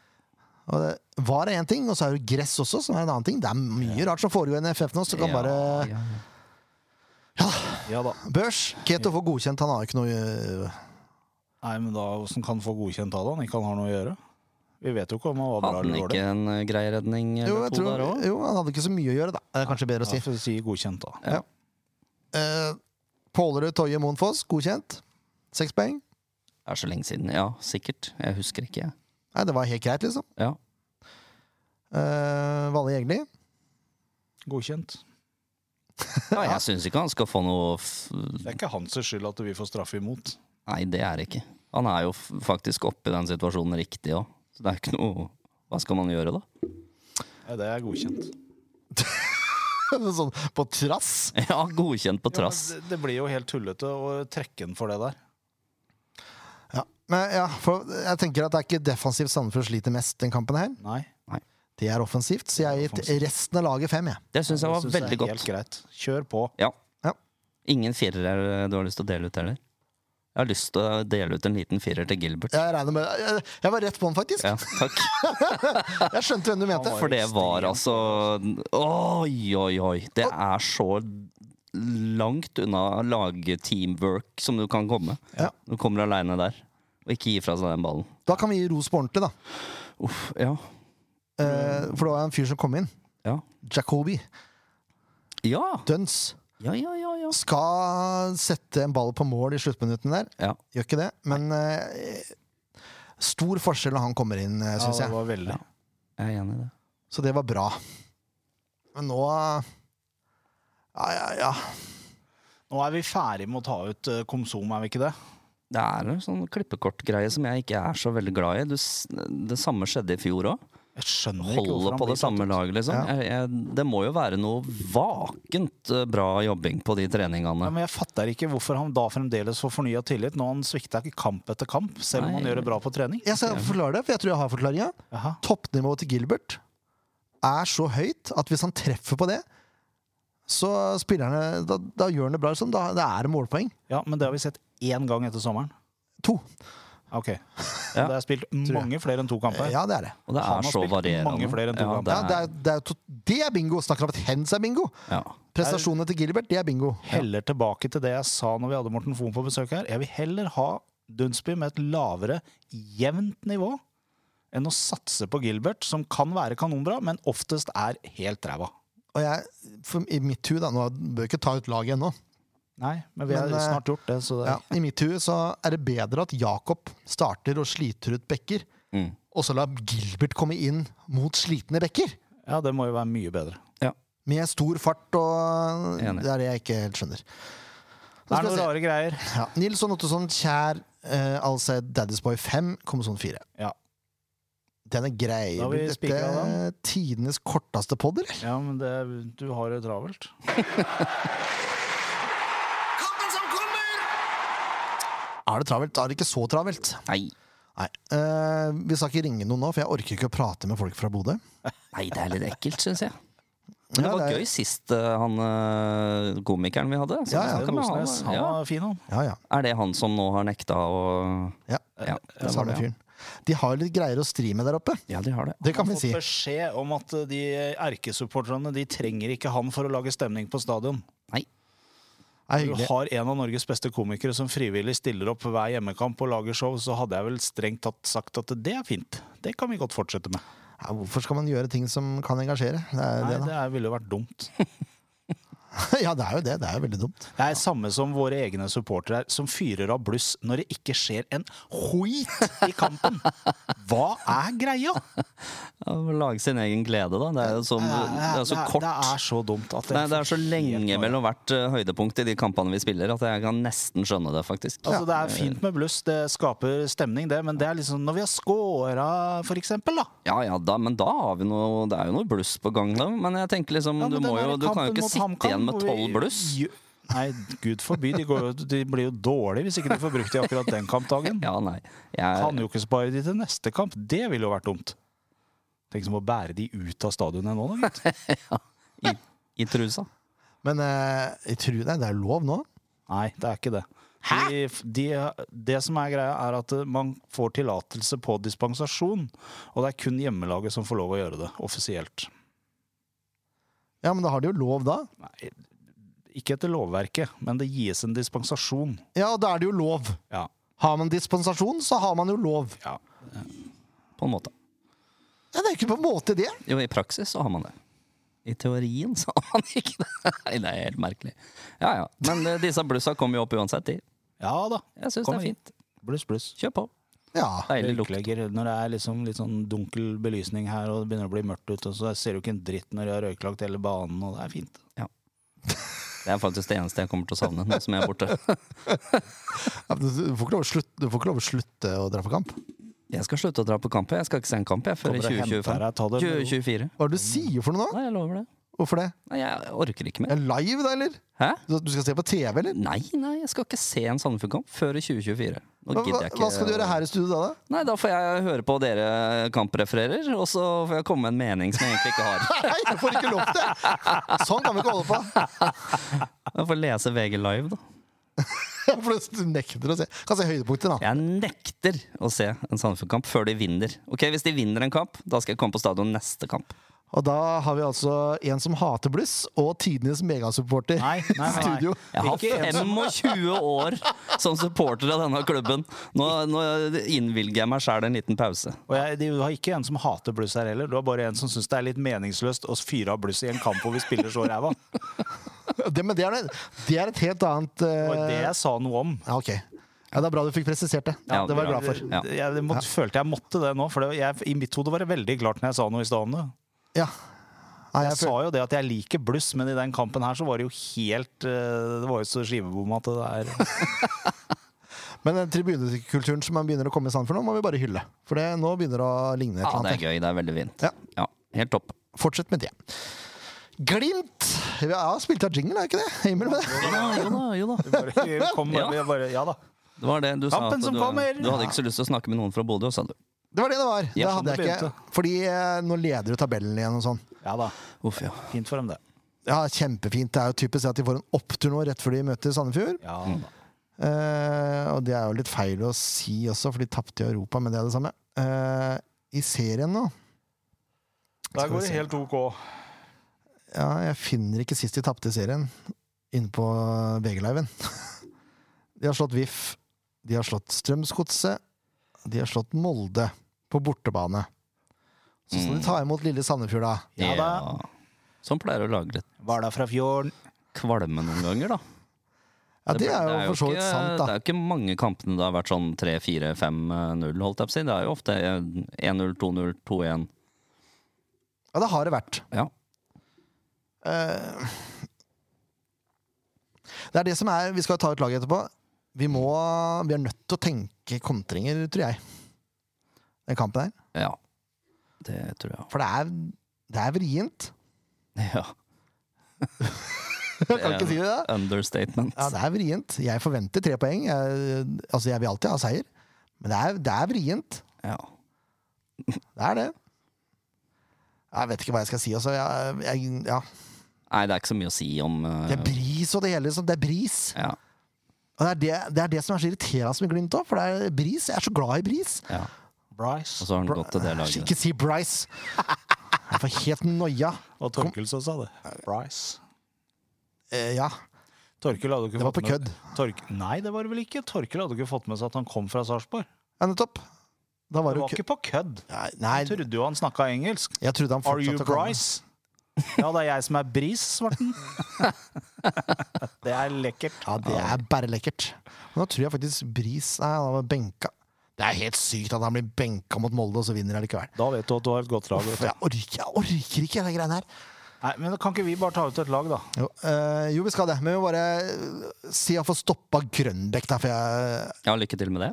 A: Og det, VAR er én ting, og så er det gress også, som er en annen ting. Det er mye rart som foregår i NFF nå, så kan
B: Ja,
A: bare
B: ja, ja.
C: Ja da.
A: Børs. Keto får godkjent, han har ikke noe øh,
C: Nei, men da, Hvordan kan han få godkjent av det? Han ikke han har noe å gjøre? Vi vet jo ikke om han var bra
B: Hadde han
C: eller
B: ikke
C: dårlig.
B: en eh, grei redning
A: jo,
B: eller
A: jeg
B: to der
A: tror,
B: òg?
A: jo, han hadde ikke så mye å gjøre, da. Det er kanskje bedre å si.
C: Ja, for å si godkjent, da.
A: Eh, Pålerud, Toje, Monfoss, godkjent. Seks poeng.
B: Det er så lenge siden. Ja, sikkert. Jeg husker ikke, jeg.
A: Nei, det var helt greit, liksom.
B: Ja.
A: Eh, Valle Jegli.
C: Godkjent.
B: Ja, jeg syns ikke han skal få noe f
C: Det er ikke hans skyld at vi får straffe imot.
B: Nei, det er det ikke. Han er jo f faktisk oppe i den situasjonen riktig òg. Så det er ikke noe Hva skal man gjøre, da?
C: Nei, det er godkjent.
A: sånn på trass.
B: Ja, godkjent på trass.
C: Ja, men det, det blir jo helt tullete å trekke den for det der.
A: Ja. Men ja, for jeg tenker at det er ikke defensivt Sandefjord sliter mest den kampen her.
C: Nei.
A: Det er offensivt, så jeg har gitt
C: Offensivt.
A: resten av laget fem, jeg.
B: Det syns jeg var
C: synes
B: veldig
C: det er
B: godt.
C: Helt greit. Kjør på.
B: Ja.
A: Ja.
B: Ingen firer er- du har lyst til å dele ut, heller? Jeg har lyst til å dele ut en liten firer til Gilbert.
A: Jeg regner med Jeg, jeg var rett på den, faktisk.
B: Ja, takk.
A: Jeg skjønte hvem du mente.
B: For det var altså Oi, oi, oi. Det er så langt unna lagteamwork som du kan komme.
A: Ja.
B: Du kommer aleine der. Og ikke gi fra seg den ballen.
A: Da kan vi gi ros på ordentlig, da.
B: Uff, ja.
A: Eh, for det var en fyr som kom inn.
B: Ja.
A: Jacobi.
B: Ja,
A: Duns.
B: ja, ja. ja, ja.
A: Skal sette en ball på mål i sluttminuttene der.
B: ja.
A: Gjør ikke det, men eh, stor forskjell når han kommer inn, eh,
C: Ja,
A: syns
C: det
A: jeg.
C: var veldig.
B: Jeg er enig i det.
A: Så det var bra. Men nå Ja, ja, ja.
C: Nå er vi ferdig med å ta ut eh, Komsom, er vi ikke det?
B: Det er en sånn klippekortgreie som jeg ikke er så veldig glad i. Du, s- det samme skjedde i fjor òg.
C: Jeg skjønner ikke hvorfor
B: Holde
C: han
B: på
C: blir
B: det samme
C: tatt ut.
B: laget, liksom.
A: Ja.
B: Jeg, jeg, det må jo være noe vakent eh, bra jobbing på de
C: Ja,
B: treningene.
C: men jeg fatter ikke hvorfor han da fremdeles får fornya tillit når han svikta ikke kamp etter kamp, selv om
B: Nei.
C: han gjør det bra på trening.
A: Jeg skal forklare det, for jeg tror jeg har forklaringa.
C: Jaha.
A: Toppnivået til Gilbert er så høyt at hvis han treffer på det, så spillerne Da, da gjør han det bra. Liksom. Da, da er det målpoeng.
C: Ja, men det har vi sett én gang etter sommeren.
A: To.
C: Ok.
B: Ja.
C: Det er spilt mange flere enn to kamper.
A: Ja, det er det.
B: Og det
C: Han
B: er
C: har
B: så
C: spilt
B: varierende.
C: mange flere enn to
B: ja,
C: kamper.
A: Ja, det,
B: det er,
A: er, det, er to, det er bingo! Snakker om at hands er bingo.
B: ja.
A: Prestasjonene til Gilbert, det er bingo.
C: Heller tilbake til det jeg sa når vi hadde Morten Fohn på besøk her. Jeg vil heller ha Dunsby med et lavere, jevnt nivå enn å satse på Gilbert, som kan være kanonbra, men oftest er helt ræva.
A: Og jeg, for, i mitt hue, da Nå bør jeg ikke ta ut laget ennå.
C: Nei, men vi har
A: Men, eh,
C: snart gjort det, så det
A: Ja, I mitt hue så er det bedre at Jakob starter og sliter ut bekker,
B: Mm.
A: og så lar Gilbert komme inn mot slitne bekker.
C: ja, det må jo være mye bedre.
A: Med stor fart og
B: Enig.
A: Det er det jeg ikke helt skjønner.
C: Det
A: skal
C: er
A: vi
C: noen
A: se.
C: rare greier.
A: Ja. Nilsson Ottosson, kjær eh, Alsaid Daddy's Boy 5, kommer sånn 4.
C: Ja.
A: Den er grei.
C: Da har vi
A: Blir dette
C: spikret den.
A: tidenes korteste pod, eller?
C: Ja, men det, du har det travelt.
D: Kampen som kommer!
A: Er det travelt? Er det ikke så travelt?
B: Nei.
A: Nei. Eh, vi skal ikke ringe noen nå, for jeg orker ikke å prate med folk fra Bodø.
B: Nei, det er litt ekkelt, syns jeg. Men det
A: Ja,
B: var
A: det er-
B: gøy sist, eh, han eh, komikeren vi hadde. Så
A: Ja, ja.
B: det
C: Sten
B: kan vi ha,
C: Osnes, han
B: ja.
C: var fin, han.
A: Ja, ja.
B: Er det han som nå har nekta å
A: ja.
B: Ja, det
A: Den
B: var
A: samme
B: det, ja.
A: fyren. De har jo litt greier å stri med der oppe.
B: ja, de har det.
A: Det kan vi
C: Fått
A: si.
C: beskjed om at de erkesupporterne de trenger ikke han for å lage stemning på stadion.
A: Det er
C: Du
A: hyggelig.
C: har en av Norges beste komikere som frivillig stiller opp hver hjemmekamp og lager show, så hadde jeg vel strengt tatt sagt at det er fint. Det kan vi godt fortsette med.
A: Ja, hvorfor skal man gjøre ting som kan engasjere? Det er
C: Nei,
A: det, da.
C: det er- ville vært dumt.
A: ja, det er jo det. Det er jo veldig dumt.
C: Det er samme som våre egne supportere som fyrer av bluss når det ikke skjer en hoit i kampen. Hva er greia?
B: Ja, å Lage sin egen glede, da. Det er jo så, det er så kort.
C: Det er så dumt at
B: Nei, det er så lenge mellom hvert eh, høydepunkt i de kampene vi spiller, at jeg kan nesten skjønne det, faktisk.
C: Altså, det er fint med bluss, det skaper stemning, det, men det er liksom når vi har scora, for eksempel, da.
B: Ja, ja, da, men da har vi noe Det er jo noe bluss på gang, da. Men jeg tenker liksom
C: Ja, men
B: Du,
C: den
B: må
C: der
B: jo, du kan
C: kampen
B: jo ikke
C: mot
B: sitte
C: HamKam,
B: igjen med
C: hvor vi
B: tolv bluss.
C: gjø- Nei, gud forby. De, går, jo- de blir jo dårlige hvis ikke de får brukt det akkurat den kampdagen.
B: Ja, nei. Jeg,
C: Kan jo ikke spare de til neste kamp. Det ville jo vært dumt. Tenk som å bære de ut av stadionet nå, da, gitt.
B: i, I trusa.
A: Men eh, jeg tror Nei, det er lov nå.
C: Nei, det er ikke det. De, de, det som er greia, er at eh, man får tillatelse på dispensasjon. Og det er kun hjemmelaget som får lov å gjøre det, offisielt.
A: Ja, men da har de jo lov da.
C: Nei, ikke etter lovverket, men det gis en dispensasjon.
A: Ja, da er det jo lov.
C: Ja.
A: Har man dispensasjon, så har man jo lov.
C: ja.
B: På en måte.
A: Ja, det er ikke på en måte det.
B: Jo, i praksis så har man det. I teorien så har man ikke det. Nei, det er helt merkelig. Ja, ja. Men eh, disse blussa kommer jo opp uansett, de.
C: ja da.
B: Jeg syns det
C: Kom
B: er
C: igjen.
B: fint.
C: Bluss, bluss.
B: Kjør på.
A: Ja.
B: Deilig lukt.
C: Røyklegger når det er liksom litt sånn dunkel belysning her, og det begynner å bli mørkt ute, og så ser du ikke en dritt når de har røyklagt hele banen, og det er fint.
B: Det er faktisk det eneste jeg kommer til å savne nå som jeg er borte.
A: Ja, men Du får ikke lov å slutte, du får ikke lov å, slutte å dra på kamp.
B: Jeg skal slutte å dra på kamp. Jeg skal ikke se en kamp jeg, før i
C: Kommer og henter
B: 2025.
C: deg, ta det med ro.
B: 2024.
A: Hva er det du sier for noe nå?
B: Nei, jeg lover det.
A: Hvorfor det?
B: Nei, jeg orker ikke mer.
A: Er det live, da, eller?
B: Hæ?
A: Du du skal se på TV, eller?
B: Nei, nei, jeg skal ikke se en Sandefjord-kamp før i 2024. Nå
A: Hva,
B: gidder jeg ikke.
A: hva skal du gjøre her i studio da? da?
B: Nei, Da får jeg høre på dere kamprefererer, og så får jeg komme med en mening som jeg egentlig ikke har.
A: Nei, du får ikke lov til det! Sånn kan vi ikke holde på.
B: Jeg får lese VG live, da.
A: For du nekter å se. Kan se høydepunkter, da.
B: Jeg nekter å se en Sandefjord-kamp før de vinner. Ok, Hvis de vinner en kamp, da skal jeg komme på stadion neste kamp.
A: Og da har vi altså en som hater bluss, og tidenes megasupporter
C: Nei, nei, nei, nei.
A: i studio.
B: Jeg har
C: Ikke en
B: 25 år som supporter av denne klubben. Nå, nå innvilger jeg meg sjæl en liten pause.
C: Og jeg, du har ikke en som hater bluss her heller, du har bare en som syns det er litt meningsløst å fyre av bluss i en kamp hvor vi spiller så ræva.
A: Det, men det er, det er et helt annet
C: Det var det
A: eh,
C: jeg sa noe om.
A: Ja, ok. Ja, det er bra du fikk presisert det.
B: Ja,
A: det var jeg
B: bra.
A: glad for.
B: Ja.
C: Jeg, må- følte jeg måtte det nå, for det, jeg, i mitt hode var det veldig klart når jeg sa noe i stad om det.
A: Ja. Nei,
C: Jeg
A: jeg
C: sa
A: føl-
C: jo det at jeg liker bluss, men i den kampen her så var det jo helt eh, Det var jo så skivebom at det er
A: men den tribunekulturen som man begynner å komme i stand for nå, må vi bare hylle. For det, nå begynner det å ligne et
B: Ja,
A: eller
B: det
A: annet.
B: er gøy. Det er veldig fint.
A: Ja.
B: Ja, helt topp.
A: Fortsett med det. Glimt! Vi har spilt av jingle, er ikke det? Emil, med det?
B: Jo da, jo da, jo da.
C: bare, vi kom, bare, vi bare, Ja da.
B: Det var det du sa.
C: Kampen
B: at
C: som
B: du,
C: kommer!
B: du hadde ikke så lyst til å snakke med noen fra Bodø, sa du.
A: Det var det det var. Det
B: Ja, sånn
A: hadde
C: det
A: jeg ikke. Fordi eh, nå leder du tabellen igjen og sånn.
C: Ja da.
B: Uff, ja.
C: Fint for dem, det.
A: Ja, kjempefint. Det er jo typisk at de får en opptur nå rett før de møter Sandefjord.
C: Ja da.
A: Eh, og det er jo litt feil å si også, for de tapte i Europa, men det er det samme. Eh, I serien nå
C: Der går det helt OK.
A: Ja, jeg finner ikke sist de tapte i serien inne på VG-liven. De har slått VIF, de har slått Strømsgodset, de har slått Molde på bortebane. Så skal de ta imot lille Sandefjord, da.
C: Ja da.
B: Som sånn pleier å lage litt
C: Var da fra fjorden.
B: kvalme noen ganger, da.
A: Ja, det er jo for så vidt
B: ikke,
A: sant,
B: Det
A: da.
B: er jo ikke mange kampene det har vært sånn 3-4-5-0, holdt jeg på å si. Det er jo ofte 1-0, 2-0, 2-1.
A: Ja, det har det vært.
B: Ja.
A: Eh, Det er det som er Vi skal ta ut laget etterpå. Vi må Vi er nødt til å tenke kontringer, tror jeg. Den kampen her.
B: ja. Det tror jeg.
A: For det er, det er vrient.
B: Ja.
A: Kan ikke si det.
B: Understatement.
A: Ja, det er vrient. Jeg forventer tre poeng. Jeg, altså, jeg vil alltid ha seier. Men det er, det er vrient.
B: Ja.
A: Det er det. Jeg vet ikke hva jeg skal si. Altså. Jeg, jeg, ja.
B: Nei, det er ikke så mye å si om eh,
A: Det er bris og det hele. Liksom. Det er bris.
B: ja.
A: Og det er det, det er det som er så irriterende med Glimt òg, for det er bris. Jeg er så glad i bris.
B: ja. Og
C: Bryce.
B: så har han gått til
A: eh,
B: det laget.
A: Ikke si Bryce! Jeg får helt noia.
C: Og Torkel som sa det. Bryce.
A: Eh, ja.
C: Torkel hadde ikke
A: Det var
C: fått
A: på
C: med- Tork, nei, det var det vel ikke. Torkel hadde ikke fått med seg at han kom fra Sarpsborg.
A: ja, nettopp. Da var det
C: Det var
A: jo kø...
C: ikke på kødd.
A: Nei, nei,
C: Trodde jo han snakka engelsk.
A: jeg trodde han
C: Are you
A: fortsatte å kalle meg-
C: Bryce? Ja, det er jeg som er bris, Svarten. Det er lekkert.
A: Ja, det er bare lekkert. Men da tror jeg faktisk Bris Nei, han var benka. Det er helt sykt at han blir benka mot Molde, og så vinner han likevel.
C: Da vet du at du har et godt lag.
A: For
C: Vet du.
A: jeg orker, jeg orker ikke de greiene her.
C: Nei, men kan ikke vi bare ta ut et lag, da?
A: Jo, eh, jo, vi skal det, men vi må bare eh, si jeg får stoppa Grønbekk, da, for jeg
B: Ja, lykke til med det.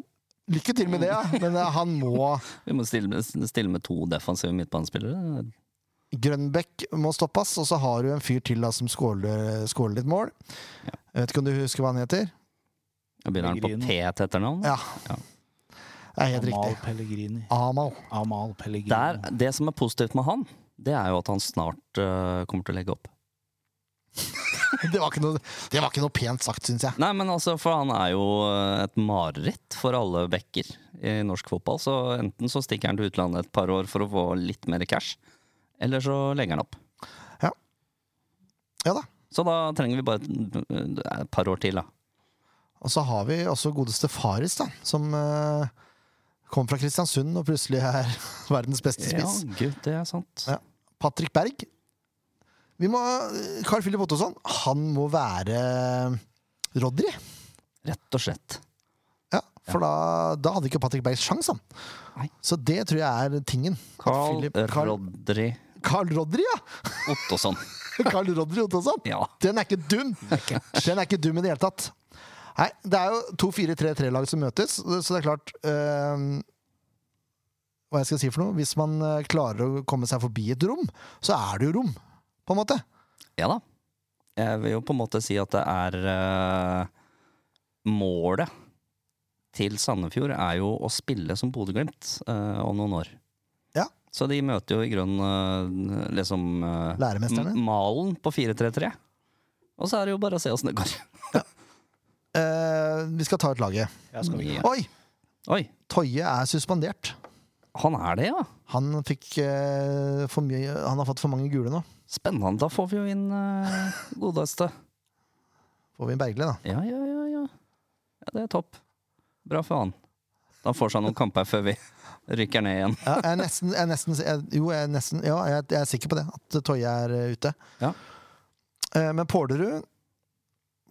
A: Lykke til med det, ja. men eh, han må
B: Vi må stille med, stille med to defensive midtbanespillere.
A: Grønbekk må stoppes, og så har du en fyr til da, som skåler, skåler litt mål. Jeg vet ikke om du husker hva han heter?
B: Da begynner han på
C: Pellegrino.
B: P til etternavn.
A: Ja.
B: Ja.
A: Det er helt
C: Amal
A: riktig.
C: Pellegrini.
A: Amal.
C: Amal Pellegrini.
B: Der, det som er positivt med han, det er jo at han snart øh, kommer til å legge opp.
A: Det var ikke noe, det var ikke noe pent sagt, syns jeg.
B: Nei, men altså, for han er jo øh, et mareritt for alle bekker i norsk fotball. Så enten så stikker han til utlandet et par år for å få litt mer cash, eller så legger han opp.
A: Ja da.
B: Så da trenger vi bare et, øh, et par år til, da.
A: Og så har vi også godeste Faris, da, som eh, kom fra Kristiansund og plutselig er verdens beste
B: Ja,
A: spiss.
B: gud, det er sant.
A: Ja. Patrick Berg. Vi må, eh, Carl Philip Ottosson, han må være eh, Rodri.
B: Rett og slett.
A: Ja, for Da, da hadde ikke Patrick Berg sjans, han.
B: Nei.
A: Så det tror jeg er tingen. At
B: Carl
A: Philip- Carl,
B: Rodri
A: Carl Rodri, ja!
B: Ottosson.
A: Carl Rodri Ottosson.
B: Ja.
A: Den er ikke dum! Den er ikke dum i det hele tatt. Nei, det er jo to 4-3-3-lag som møtes, så det er klart eh, Hva jeg skal si for noe? Hvis man eh, klarer å komme seg forbi et rom, så er det jo rom, på en måte.
B: Ja da. Jeg vil jo på en måte si at det er eh, Målet til Sandefjord er jo å spille som Bodø-Glimt eh, om noen år.
A: Ja.
B: Så de møter jo i grunnen eh, liksom eh,
A: Læremesterne.
B: m- malen på 4-3-3. Og så er det jo bare å se åssen det går.
A: Eh, vi skal ta ut laget.
C: Ja, skal vi.
B: Ja.
A: Oi!
B: Oi,
A: Toje er suspendert.
B: han er det, ja!
A: Han, fikk, eh, for mye, han har fått for mange gule nå.
B: Spennende. Da får vi jo inn eh, godeste.
A: Får vi en Bergli, da.
B: Ja, ja, ja, ja. Ja, det er topp. Bra for han. Da får seg noen kamper før vi rykker ned igjen.
A: Ja, jeg er nesten, jeg er nesten, jeg, jo, jeg er nesten ja, jeg, jeg er sikker på det, at Toje er eh, ute.
B: Ja.
A: Eh, men Pålerud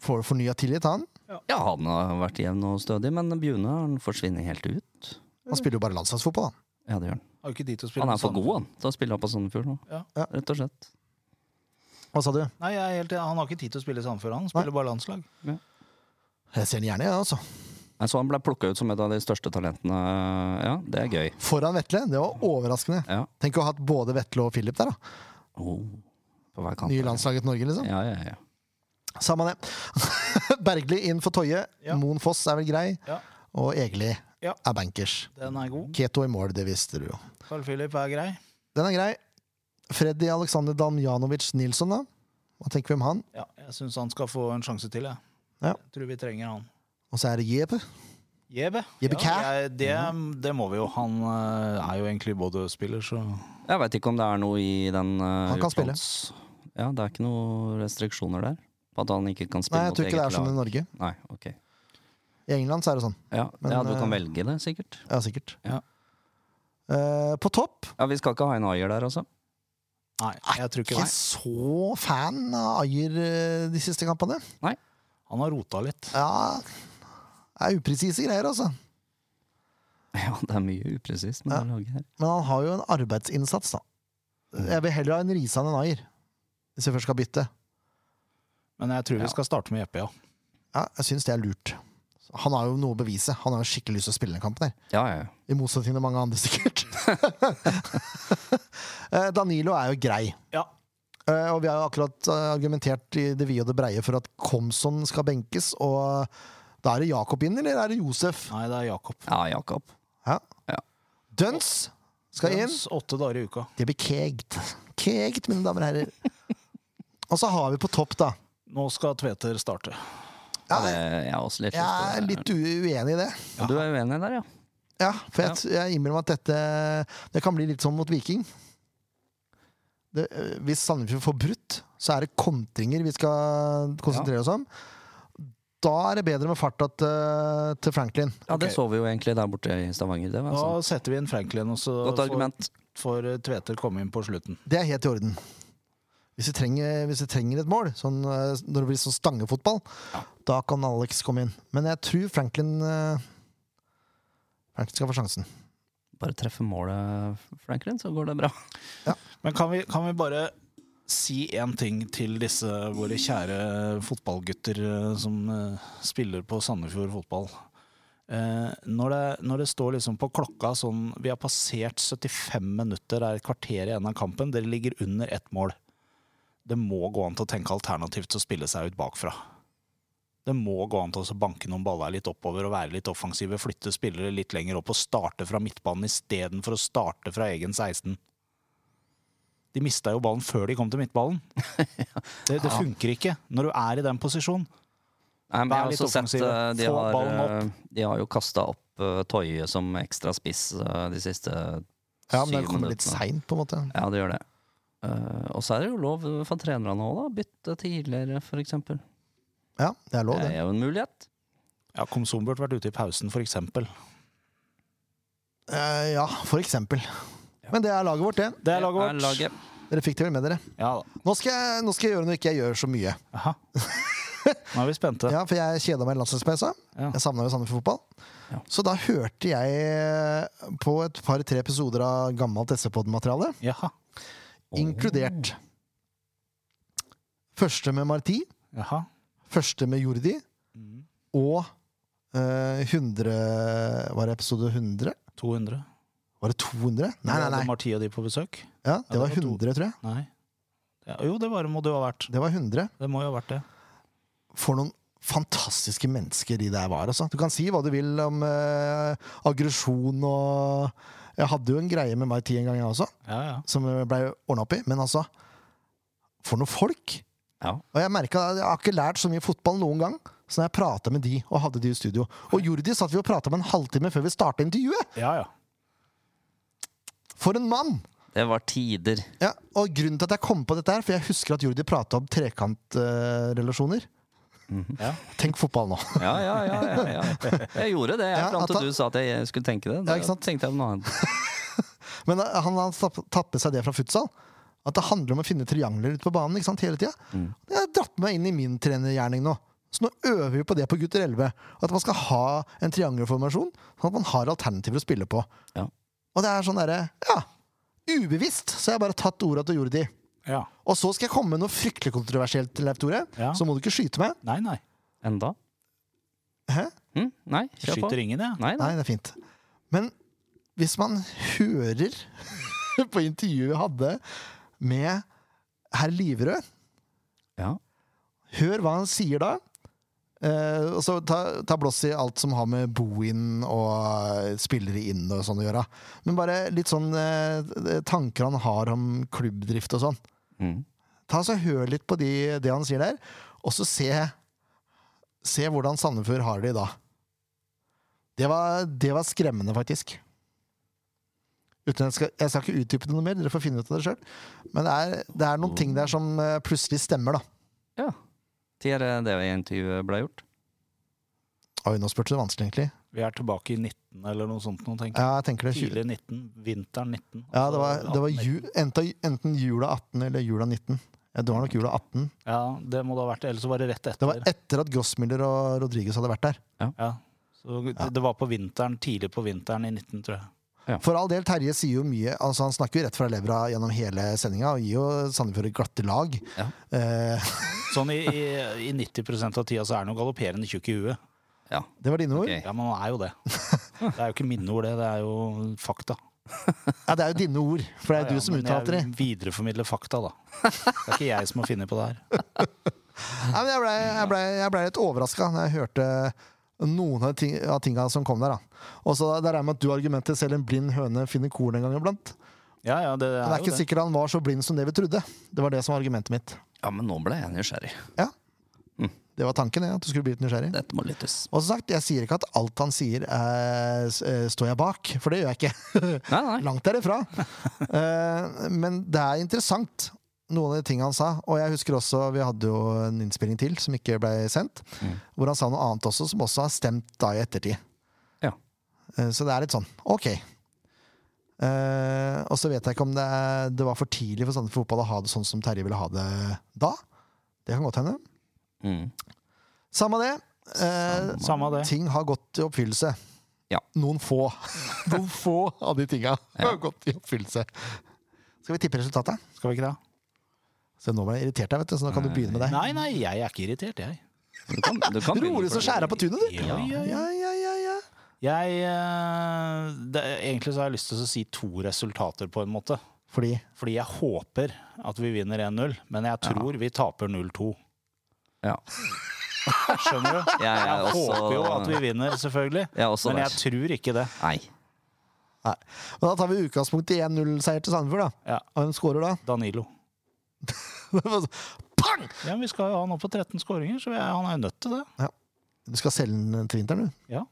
A: får fornya tillit, han.
B: Ja, han har vært jevn og stødig, men Bjune han forsvinner helt ut.
A: Han spiller jo bare landslagsfotball, han.
B: Ja, det gjør han.
C: Har jo ikke de til å spille
B: Han
C: med
B: er for
C: Sandefjord.
B: god, han, til å spille på Sandefjord nå.
C: Ja.
A: Ja.
B: Rett og slett.
A: Hva sa du?
C: Nei, jeg er helt, enig. Han har ikke tid til å spille i Sandefjord, han spiller bare landslag.
A: Jeg ser den gjerne, ja, altså.
B: Jeg så han ble plukka ut som et av de største talentene. Ja, det er gøy.
A: Foran Vetle. Det var overraskende.
B: Ja.
A: Tenk å ha hatt både Vetle og Philip der, da.
B: Oh, på hver kant.
A: Nye landslaget til Norge, liksom.
B: Ja, ja, ja.
A: Samme det. Bergli inn for Toje.
C: Ja.
A: Moen Foss er vel grei.
C: Ja.
A: Og Egeli
C: Ja.
A: er bankers.
C: Den er god.
A: Keto i mål, det visste du jo.
C: Carl Philip er grei.
A: Den er grei. Freddy Aleksander Damjanovic Nilsson, da. Hva tenker vi om han?
C: Ja, jeg syns han skal få en sjanse til, jeg.
A: Ja.
C: jeg tror vi trenger han.
A: Og så er det Jepe.
C: Jebe.
A: Jeppe Kjær.
C: jeg, det, det må vi jo. Han eh, er jo egentlig Bodø-spiller, så
B: Jeg veit ikke om det er noe i den uh,
A: Han kan spille.
B: Ja, det er ikke noen restriksjoner der? På at han ikke kan
A: Nei,
B: spille
A: jeg tror ikke det er sånn i
B: lag?
A: Norge.
B: Nei, ok.
A: I England så er det sånn.
B: Ja,
A: Men,
B: ja, du kan
A: eh,
B: velge det, sikkert.
A: Ja, sikkert.
B: Ja.
A: Eh, på topp
B: Ja, Vi skal ikke ha en Ayer der, altså?
C: Nei, jeg tror ikke
A: Ikke
C: det.
A: så fan av Ayer eh, de siste kampene.
C: Han har rota litt.
A: Ja, det er upresise greier, altså.
B: Ja, det er mye upresist med
A: Ja.
B: det laget her.
A: Men han har jo en arbeidsinnsats, da.
C: Mm.
A: Jeg vil heller ha en Risan enn Ayer, hvis jeg først skal bytte.
C: Men jeg tror
B: Ja.
C: vi skal starte med Jeppe, ja.
A: Ja, jeg syns det er lurt. Han har jo noe å bevise. Han har jo skikkelig lyst til å spille den kampen her.
B: Ja, ja, ja.
A: I motsetning til mange andre, sikkert. Eh, Danilo er jo grei.
C: Ja.
A: Eh, Og vi har jo akkurat eh, argumentert i det vide og det breie for at Komson skal benkes, og eh, da er det Jakob inn, eller er det Josef?
C: Nei, det er Jakob.
B: Ja, Jakob.
A: Ja.
B: Ja.
A: Duns skal inn.
C: Jens, Åtte dager i uka.
A: Det blir kegt. Kegt, mine damer og herrer. Og så har vi på topp, da.
C: Nå skal Tveter starte.
B: Ja, det
A: Ja,
B: er jeg også litt
A: jeg er
B: lyst til.
A: litt u- uenig i det.
B: Ja, Du er uenig der, ja?
A: Ja, for jeg, t- jeg innbiller meg at dette Det kan bli litt sånn mot Viking. Det, øh, hvis Sandefjord får brutt, så er det kontringer vi skal konsentrere oss om. Da er det bedre med farta til, til Franklin.
B: Ja, Det
C: Ok.
B: så vi jo egentlig der borte i Stavanger. Det var
C: Da
B: sånn.
C: setter vi inn Franklin, og så
B: Godt
C: får,
B: argument.
C: får Tveter komme inn på slutten.
A: Det er helt i orden. Hvis vi trenger, hvis vi trenger et mål, sånn, eh, når det blir sånn stangefotball, da kan Alex komme inn. Men jeg tror Franklin eh, Franklin skal få sjansen.
B: Bare treffe målet, Franklin, så går det bra.
C: Men kan vi, kan vi bare si én ting til disse våre kjære fotballgutter eh, som eh, spiller på Sandefjord fotball? Eh, når, det, når det står liksom på klokka sånn Vi har passert 75 minutter, det er et kvarter igjen av kampen. Dere ligger under ett mål. Det må gå an til å tenke alternativt til å spille seg ut bakfra. Det må gå an til å banke noen baller litt oppover og være litt offensive. Flytte spillere litt lenger opp og starte fra midtbanen istedenfor å starte fra egen 16. De mista jo ballen før de kom til midtballen. Det, det funker ikke når du er i den posisjonen.
B: Nei, men jeg har
C: Vær litt
B: også sett
C: offensive.
B: eh, de
C: Få
B: har,
C: ballen
B: eh, de har jo kasta opp uh, Toye som ekstra spiss eh, de siste
A: Ja, men det
B: syv
A: kommer litt
B: minuttene.
A: seint, på en måte.
B: Ja, det gjør det. Eh, og så er det jo lov for trenerne òg, da. Bytte tidligere, for eksempel.
A: Ja, det er lov,
B: Det
A: det.
B: er jo en mulighet.
C: Ja, Komsom burde vært ute i pausen, for eksempel.
A: Eh, ja, for eksempel. Men det er laget vårt, det.
C: Det er
B: Det er
C: laget vårt.
B: laget.
A: Dere fikk det vel med dere.
C: Ja da.
A: Nå skal, jeg, nå skal jeg gjøre noe ikke jeg gjør så mye.
C: Aha. Nå er vi spente.
A: Ja, For jeg kjeda meg i landslagspausa.
C: Ja.
A: Jeg savna jo Sandefjord fotball.
B: Ja.
A: Så da hørte jeg eh, på et par-tre episoder av gammelt SV-podden-materiale,
C: Jaha.
A: inkludert Første med Marti,
C: Jaha. Mm.
A: første med Jordi og eh, 100 Var det episode 100?
C: 200.
A: Var det 200? Nei, nei,
C: Hadde
A: nei.
C: Marti og de på besøk?
A: Ja, det var
C: var to.
A: 100, tror jeg.
C: Nei. Ja, jo, det var, må det jo ha vært.
A: Det var 100.
C: Det må jo ha vært det.
A: For noen fantastiske mennesker de der var. Altså. Du kan si hva du vil om eh, aggresjon og Jeg hadde jo en greie med meg ti en gang, jeg også,
C: Ja, ja.
A: som blei ordna opp i. Men altså, for noen folk!
B: Ja.
A: Og jeg merket, at jeg har ikke lært så mye fotball noen gang. Så når jeg prata med de, og hadde de i studio Og Jordi satt vi og prata med en halvtime før vi starta intervjuet!
C: ja, ja.
A: For en mann!
B: Det var tider.
A: Ja, og grunnen til at jeg kom på dette her, for jeg husker at Jordi prata om trekantrelasjoner.
C: Ja.
A: Tenk fotball nå!
B: Ja, ja, ja. ja, ja. Jeg gjorde det jeg,
A: Ja,
B: fram
A: at
B: til
A: han-
B: du sa at jeg skulle tenke det. Da
A: Ja, ikke sant?
B: tenkte jeg på noe annet.
A: Men eh, han har tatt tatt med seg det fra futsal. At det handler om å finne triangler ute på banen ikke sant, hele tida. Det har dratt meg inn i min trenergjerning nå. Så nå øver vi på det på gutter 11. At man skal ha en triangelformasjon, sånn at man har alternativer å spille på.
B: Ja.
A: Og det er sånn derre Ja, ubevisst så har jeg bare tatt orda til Jordi.
C: ja.
A: Og så skal jeg komme med noe fryktelig kontroversielt, Leif Tore.
C: Ja.
A: Så må du ikke skyte meg.
C: Nei, nei.
B: Enda?
A: Hæ?
B: Hm? Nei,
C: Jeg
B: kjør på.
C: skyter ingen, jeg.
B: Nei, nei.
A: Nei, det er fint. Men hvis man hører på intervjuet vi hadde med herr Liverød
B: Ja.
A: Hør hva han sier da. Eh, og så ta, ta blås i alt som har med bo-in og eh, spillere inn og sånn å gjøre. Men bare litt sånn eh, tanker han har om klubbdrift og sånn.
B: Mm.
A: Ta så Hør litt på de, det han sier der, og så se, se hvordan Sandefjord har det i dag. Det var, det var skremmende, faktisk. Uten at jeg, skal, jeg skal ikke utdype det noe mer, dere får finne ut av det sjøl. Men det er, det er noen ting der som eh, plutselig stemmer, da.
B: ja. Til eh, det intervjuet ble gjort.
A: Oi, nå spurte du vanskelig, egentlig.
C: Vi er tilbake i 19 eller noe sånt nå, tenker jeg.
A: Ja, jeg tenker det. er tjue-
C: Tidlig 19. Vinteren 19.
A: Ja, det var,
C: altså
A: det var
C: 18,
A: ju, enten, enten jula 18 eller jula 19. Ja, det var nok jula 18.
C: Ja, det må det ha vært. Ellers så var det rett etter.
A: Det var etter at Grossmiller og Rodriguez hadde vært der.
C: Ja. Så det, det var på vinteren, tidlig på vinteren i 19, tror jeg.
A: For all del, Terje sier jo mye. altså Han snakker jo rett fra levra gjennom hele sendinga og gir jo Sandefjord et glatte lag.
B: Ja.
A: Eh,
C: Sånn i, i, i 90 av tida så er han jo galopperende tjukk i huet.
B: Ja.
A: det var dine ord.
B: Ok.
C: Ja, men han er jo det. Det er jo ikke mine ord, det. Det er jo fakta.
A: Ja, det er jo dine ord, for det er
C: Ja,
A: jo du som
C: men
A: uttalte det.
C: Jeg videreformidler fakta, da. Det er ikke jeg som har funnet på det her.
A: Nei, men jeg blei jeg ble, jeg ble litt overraska når jeg hørte noen av, ting, av tinga som kom der. da. Og så det er med at du har argumentet 'selv en blind høne finner korn en gang iblant'.
C: Ja, ja, det
A: Men
C: er,
A: det er
C: jo
A: ikke
C: det.
A: sikkert han var så blind som det vi trodde. Det var det som var argumentet mitt.
B: ja, men nå ble jeg nysgjerrig.
A: Det var tanken, ja, at du skulle bli litt nysgjerrig.
B: Dette må lyttes.
A: Og som sagt, jeg sier ikke at alt han sier, eh, s- eh, står jeg bak, for det gjør jeg ikke.
B: Nei, nei.
A: Langt derifra. Eh, men det er interessant, noen av de tingene han sa. Og jeg husker også, vi hadde jo en innspilling til som ikke ble sendt, hvor han sa noe annet også, som også har stemt da i ettertid.
B: Ja.
A: Eh, så det er litt sånn, ok. Eh, og så vet jeg ikke om det, er, det var for tidlig for Sandefjord Fotball å ha det sånn som Terje ville ha det da. Det kan godt hende.
B: Mm.
A: Samme det. Eh,
C: Samme det.
A: ting har gått i oppfyllelse.
B: Ja.
A: Noen få. Noen få av de tinga har gått i oppfyllelse. Skal vi tippe resultatet?
C: Skal vi ikke det?
A: Se, nå ble jeg irritert, her, vet du, så nå kan du begynne med det.
C: Nei, nei, jeg er ikke irritert, jeg.
B: Du kan, du kan begynne
A: Rolig
B: for
A: som skjæra på tunet, du!
C: Ja, ja, ja.
A: Ja, ja, ja, ja.
C: Jeg, eh, det, egentlig så har jeg lyst til å si to resultater, på en måte.
A: Fordi
C: Fordi jeg håper at vi vinner 1-0, men jeg tror vi taper 0-2.
B: Ja.
C: Skjønner du?
B: Jeg er
C: Jeg
B: også-
C: håper jo at vi vinner, selvfølgelig.
B: Jeg er også
C: Men
B: der.
C: jeg tror ikke det.
B: Nei.
A: Nei. Men da tar vi utgangspunkt i 1-0-seier til Sandefjord, da.
C: Ja,
A: Og hvem scorer da?
C: Danilo.
A: Pang!
C: Ja, men Vi skal jo ha han opp på 13 skåringer, så jeg, han er jo nødt til det.
A: Du skal selge den til vinteren, du?
C: Ja.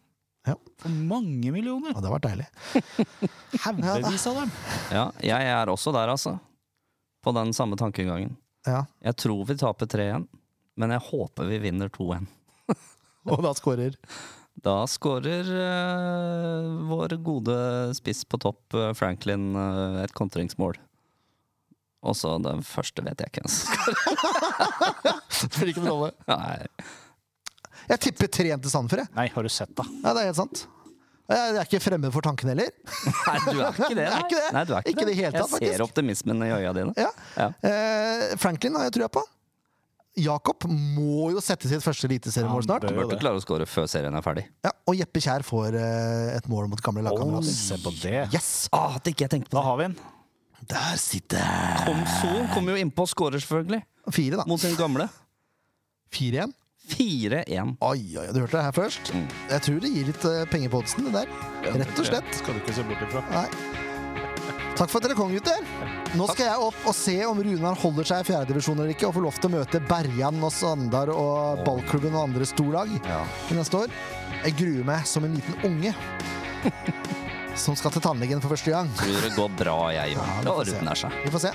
A: Ja.
C: For mange millioner!
A: Ja, det har vært deilig.
C: Haugevis av dem!
B: Ja, jeg er også der, altså. På den samme tankegangen.
A: Ja.
B: Jeg tror vi taper 3-1, men jeg håper vi vinner 2-1.
A: Og da scorer
B: Da skårer eh, vår gode spiss på topp, eh, Franklin, eh, et kontringsmål. Og så den første vet jeg ikke ens.
A: Spiller ikke noen rolle.
B: Nei.
A: Jeg tipper 3-1 til Sandefjord, jeg.
C: Nei, har du sett, da?
A: Ja, det er helt sant. Jeg er ikke fremmed for tanken heller.
B: Nei, du er ikke det.
A: Jeg er ikke det.
B: Nei, du er ikke,
A: Ikke i det hele tatt,
B: Jeg
A: faktisk.
B: ser optimismen i øya dine.
A: Ja.
B: Ja.
A: Eh, Franklin har jeg trua på. Jakob må jo sette sitt første eliteseriemål
C: Ja, han
A: snart.
B: Du
C: bør.
B: burde klare å skåre før serien er ferdig.
A: Ja, og Jeppe Kjær får eh, et mål mot gamle lagkamerat.
C: Se på det!
A: Yes!
B: Ah, at ikke jeg tenkte på
C: Da
B: det.
C: har vi den.
A: Der sitter jeg!
B: Komson Ah. kommer jo innpå og skårer, selvfølgelig.
A: Fire, da.
B: Mot sin gamle.
A: Fire igjen.
B: 4-1.
A: Oi, oi, oi, du hørte det her først.
B: Mm.
A: Jeg tror det gir litt eh, penger på oddsen, det der. Rett og slett.
C: Skal du ikke se bort ifra.
A: Nei. Takk for at dere kom, gutter. Nå skal jeg opp og se om Runar holder seg i fjerdedivisjon eller ikke, og får lov til å møte Berjan og Sandar og ballklubben og andre storlag til neste år. Jeg gruer meg som en liten unge som skal til tannlegen for første gang.
B: Tror det går bra, jeg,
A: Ja, vi
B: Johan. Det
A: får se.
B: ordner seg.
A: Vi får se.